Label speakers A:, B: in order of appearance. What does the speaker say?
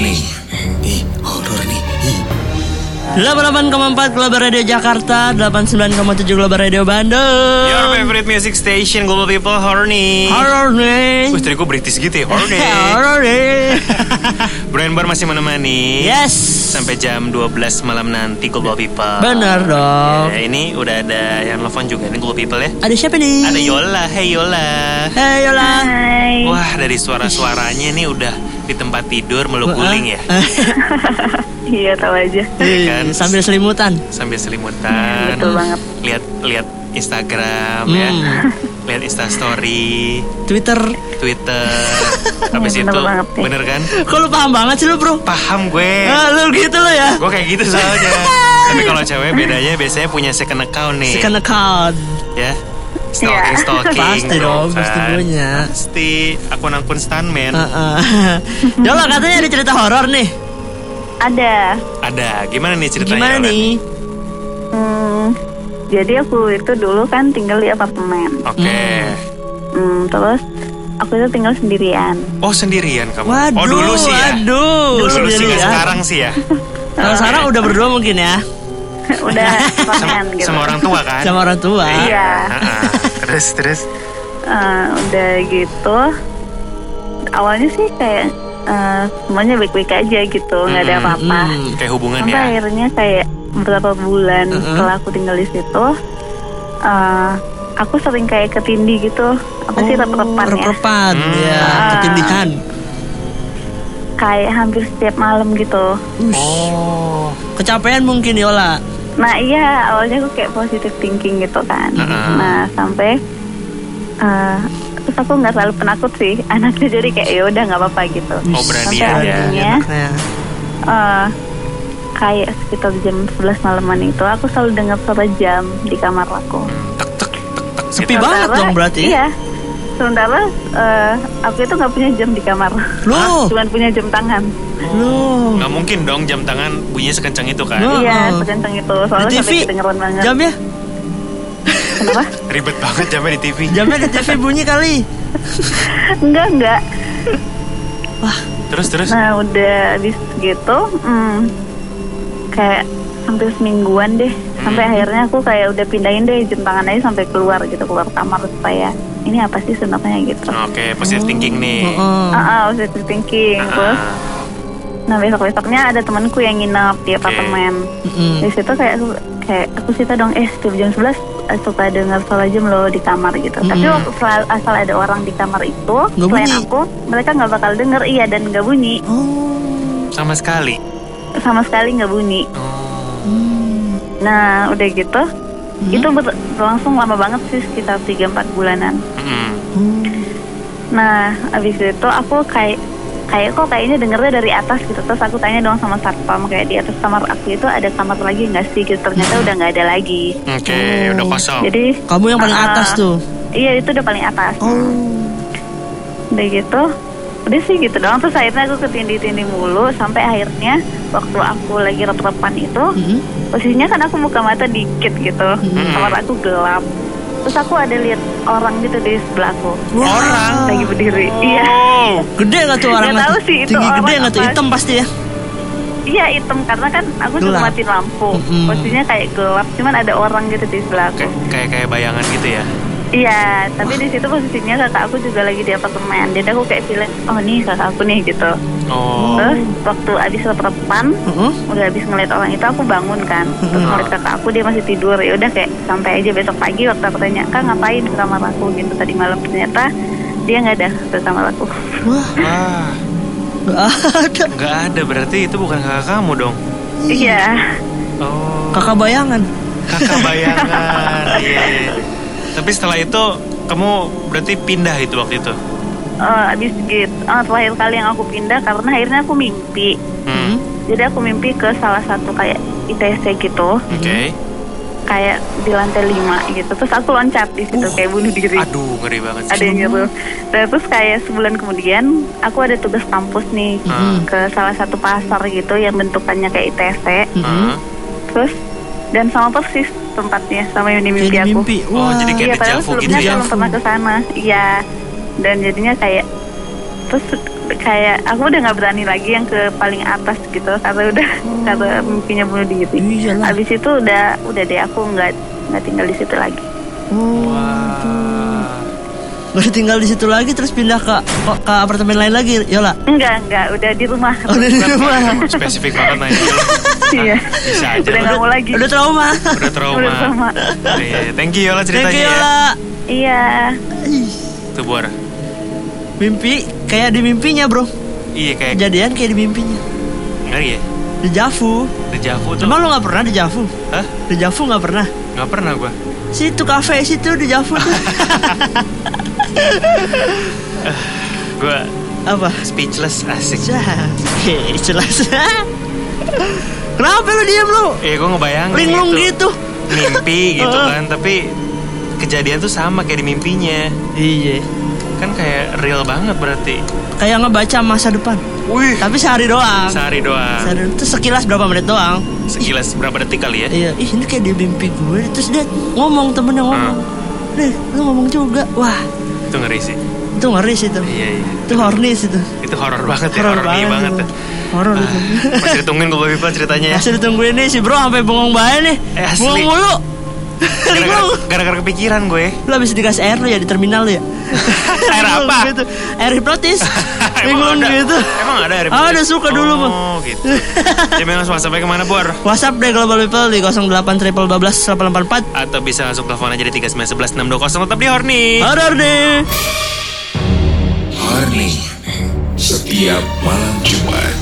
A: nih. Ih, horor nih. Ih.
B: 88,4 Global Radio Jakarta 89,7 Global Radio
C: Your
B: Bandung
C: favorite music station, Global People Horny.
B: Horror nih
C: Wih, tadi gue British gitu ya, Horny.
B: Horror nih
C: Brian Bar masih menemani.
B: Yes
C: Sampai jam 12 malam nanti, Global People.
B: Bener dong
C: Ya, ini udah ada yang telepon juga nih, Global People ya.
B: Ada siapa nih?
C: Ada Yola, hey Yola.
B: Hei Yola
D: Hai.
C: Wah, dari suara-suaranya nih udah di tempat tidur meluk guling ya.
D: Iya tahu aja.
B: Ih,
C: kan?
B: Sambil selimutan
C: Sambil selimutan.
D: Betul banget.
C: Lihat lihat Instagram ya.
B: Hmm.
C: Lihat Instastory,
B: Twitter
C: Twitter. Habis
D: Bener
C: itu
D: banget nih.
C: bener kan?
B: Kok lu paham banget sih lu bro?
C: Paham gue.
B: Ah, lu gitu lo ya
C: Gue kayak gitu soalnya. Tapi kalau cewek bedanya biasanya punya second account nih.
B: Second account
C: Ya. Stalking,
D: Iya.
C: stalking.
B: Pasti
C: tuh
B: dong,
C: kan.
B: pasti punya. Ah.
C: Pasti akun-akun stuntman.
B: Heeh. Yola katanya ada cerita horor nih
D: Ada.
C: Ada. Gimana nih ceritanya?
B: Gimana
C: Len?
B: nih?
D: Hmm, jadi aku itu dulu kan tinggal di apartemen.
C: Oke.
D: Hmm, terus aku itu tinggal sendirian.
C: Oh sendirian kamu?
B: Waduh
C: oh dulu sih ya?
B: Waduh
C: Dulu sih nggak
B: sendirian.
C: sekarang sih ya?
B: Kalau sekarang udah berdua mungkin ya
D: Udah
C: Sama,
D: konten gitu.
C: sama orang tua kan?
B: Sama orang tua
D: Iya.
C: Heeh. terus terus.
D: Eh, udah gitu. Awalnya sih kayak eh, semuanya baik-baik aja gitu, nggak ada
C: Mm,
D: apa-apa.
B: Hmm.
C: Kayak hubungan
D: Sampai
C: ya?
D: akhirnya kayak beberapa bulan
B: Mm-mm.
D: setelah aku tinggal di situ, eh, aku sering kayak ketindi gitu. Apa sih rep-repan ya?
B: Rep-repan,
C: Hmm.
B: ya. Ketindihan.
D: Kayak hampir setiap malam gitu.
C: Oh.
B: Kecapean mungkin Yola.
D: Nah iya awalnya aku kayak positive thinking gitu kan.
C: Mm-mm.
D: Nah sampai eh, terus aku nggak selalu penakut sih anaknya jadi kayak ya udah nggak apa-apa gitu.
C: Oh, berani
D: Sampai
C: ya.
D: akhirnya
B: Nah,
D: eh, kayak sekitar jam 11 malaman itu aku selalu dengar suara jam di kamar aku.
C: Tek tek tek tek.
B: Sepi
C: gitu.
B: banget dong berarti.
D: Iya. Sementara eh, aku itu nggak punya jam di kamar.
B: Loh.
D: Cuman punya jam tangan.
B: Loh.
C: Nggak mungkin dong jam tangan bunyinya sekencang itu kan?
B: Oh,
D: Iya,
B: oh.
D: sekencang itu.
B: Di
D: Soalnya
B: TV
D: sampai kedengeran banget.
B: jamnya
D: Kenapa?
C: Ribet banget jamnya di TV.
B: jamnya ya di TV bunyi kali.
D: enggak, enggak.
C: Terus terus.
D: Nah udah abis gitu hmm, Kayak hampir semingguan deh Sampai
B: Hmm.
D: akhirnya aku kayak udah pindahin deh jam tangan aja sampai keluar gitu Keluar kamar supaya ini apa sih sebenarnya gitu
C: Oke, positive thinking nih.
B: Heeh.
D: Ah, ah, positive thinking
C: Heeh.
D: Terus nah besok-besoknya ada temanku yang nginep di apartemen
B: Mm-mm.
D: Di situ kayak aku, kayak aku cerita dong Eh setiap jam 11 suka dengar suara jam lo di kamar gitu Tapi
B: Mm-mm.
D: waktu selalu- asal ada orang di kamar itu
B: Hmm. Nggak
D: Selain
B: bunyi.
D: aku, mereka nggak bakal denger Iya dan nggak bunyi
B: Oh.
C: Sama sekali.
D: Sama sekali nggak bunyi
C: Oh.
D: Nah, udah gitu, itu ber- berlangsung lama banget sih sekitar 3-4 bulanan.
C: Mm-mm.
B: Hmm.
D: Nah, abis itu aku kayak kayak kok kayaknya dengernya dari atas gitu terus aku tanya dong sama satpam kayak di atas kamar aku itu ada kamar lagi nggak sih gitu ternyata udah nggak ada lagi
C: Oke, udah kosong.
D: Mm. jadi
B: Kamu yang paling
D: Ah.
B: atas tuh.
D: iya itu udah paling atas
B: Oh.
D: udah gitu udah sih gitu doang terus akhirnya aku ketindi-tindi mulu sampai akhirnya waktu aku lagi rep-repan itu
C: Hmm.
B: Mm-mm.
D: posisinya kan aku buka mata dikit gitu kamar aku gelap terus aku ada lihat orang gitu di sebelahku
C: Orang?
D: lagi berdiri iya
C: Oh.
B: Gede gak tuh orang?
D: Nggak
B: itu?
D: tahu sih itu
B: Tinggi
D: orang
B: gede gak tuh?
D: apa.
B: Hitam pasti ya.
D: iya hitam karena kan aku cuma
B: Gelap.
D: matiin lampu
B: Mm-mm.
C: Hmm.
D: posisinya kayak gelap cuman ada orang gitu di sebelahku
C: Kayak kayak kayak bayangan gitu ya.
D: iya tapi di situ posisinya kakak aku juga lagi di apartemen jadi aku kayak feeling oh nih kakak aku nih gitu
C: Oh.
D: terus waktu abis rep-repan
B: Heeh.
D: udah habis ngeliat orang itu aku bangun kan terus ngeliat kakak aku dia masih tidur ya udah kayak sampai aja besok pagi waktu aku tanya kak ngapain ke kamar aku gitu tadi malam ternyata dia nggak ada ke kamar aku
B: Wah,
C: Wah,
B: nggak ada.
C: Ah, nggak ada berarti itu bukan kakak kamu dong.
D: iya
C: Oh,
B: Kakak bayangan.
C: kakak bayangan. Iya, iya. Tapi setelah itu kamu berarti pindah itu waktu itu.
D: Eh, abis gitu eh, terakhir kali yang aku pindah karena akhirnya aku mimpi Mm-hmm.
C: Hmm.
D: jadi aku mimpi ke salah satu kayak ITC gitu
C: Oke.
D: kayak di lantai 5 gitu terus aku loncat di situ
C: Uh,
D: kayak bunuh diri
C: Aduh, ngeri banget
D: ada
C: sih.
D: yang nyuruh Nah, terus kayak sebulan kemudian aku ada tugas kampus nih
C: Hmm.
D: ke salah satu pasar gitu yang bentukannya kayak ITC Mm-hmm.
C: Hah?
D: terus dan sama persis tempatnya sama yang di mimpi
B: Jadi
D: aku
B: mimpi.
C: Oh,
B: Wah.
C: jadi kayak
D: iya
C: deja vu
D: padahal
C: gitu
D: sebelumnya aku
C: ya.
D: belum pernah ke sana iya dan jadinya kayak terus kayak aku udah nggak berani lagi yang ke paling atas gitu karena udah karena mimpinya bunuh diri
B: Iyalah.
D: habis itu udah udah deh aku nggak nggak tinggal di situ lagi
B: Oh,
C: Wah.
B: baru tinggal di situ lagi terus pindah ke ke, ke apartemen lain lagi, Yola.
D: enggak enggak udah di rumah
B: Oh, udah di rumah.
C: Kamu spesifik banget nah, nanya.
D: Iya.
C: Bisa aja.
D: Udah nggak mau lagi.
B: Udah trauma.
C: Udah trauma.
D: Udah trauma.
C: Iya, thank you Yola ceritanya
B: Thank you,
C: ya.
B: Yola.
D: Iya.
B: Ih,
C: Tuh Bor.
B: Mimpi kayak di mimpinya, Bro.
C: Iya kayak
B: Kejadian kayak di mimpinya.
C: ngeri ya.
B: Di Javu.
C: Dejavu tuh.
B: Emang lo nggak pernah di Javu?
C: Hah?
B: Di Javu nggak pernah.
C: Gak pernah gua.
B: Situ kafe situ di Javu tuh.
C: Gua
B: Apa?
C: speechless asik.
B: Jah. Oke, jelas. Kenapa lo diem lo?
C: Iya gua ngebayangin
B: Linglung gitu. Oh,
C: Mimpi gitu
B: Heeh.
C: kan, tapi kejadian tuh sama kayak di mimpinya.
B: Iya.
C: Kan kayak real banget berarti.
B: Kayak ngebaca masa depan.
C: Wih.
B: Tapi sehari doang.
C: Sehari doang.
B: Sehari itu sekilas berapa menit doang.
C: Sekilas berapa detik kali ya?
B: Iya, ih ini kayak di mimpi gue. Terus dia ngomong temennya ngomong.
C: Hmm.
B: Deh, lu ngomong juga. Wah,
C: Itu ngeri sih.
B: itu ngeri sih itu.
C: Iya iya.
B: Itu horny sih itu.
C: Itu horor banget ya,
B: Horor
C: horor banget. banget
B: banget.
C: ya.
B: Horor
C: Ah,
B: itu.
C: Masih ditungguin gue Viva ceritanya ya.
B: Masih ditungguin nih si bro sampai bengong bae nih.
C: Eh, asli.
B: Bengong mulu.
C: Gara-gara,
B: Linglung.
C: gara-gara kepikiran gue.
B: Lu habis dikasih air lu ya di terminal lu ya?
C: Air
B: Linglung
C: apa?
B: Gitu. Air hipnotis
C: Emang
B: Bingung
C: ada-
B: gitu
C: Emang ada air
B: Ah, ada suka dulu, Bang.
C: Oh gitu. Jadi langsung WhatsApp-nya kemana Bor?
B: WhatsApp deh Global People di 08 triple 12 844
C: Atau bisa langsung telepon aja di 3911 620 tetap di Horny.
B: Horor deh
A: Horny Setiap malam Jumat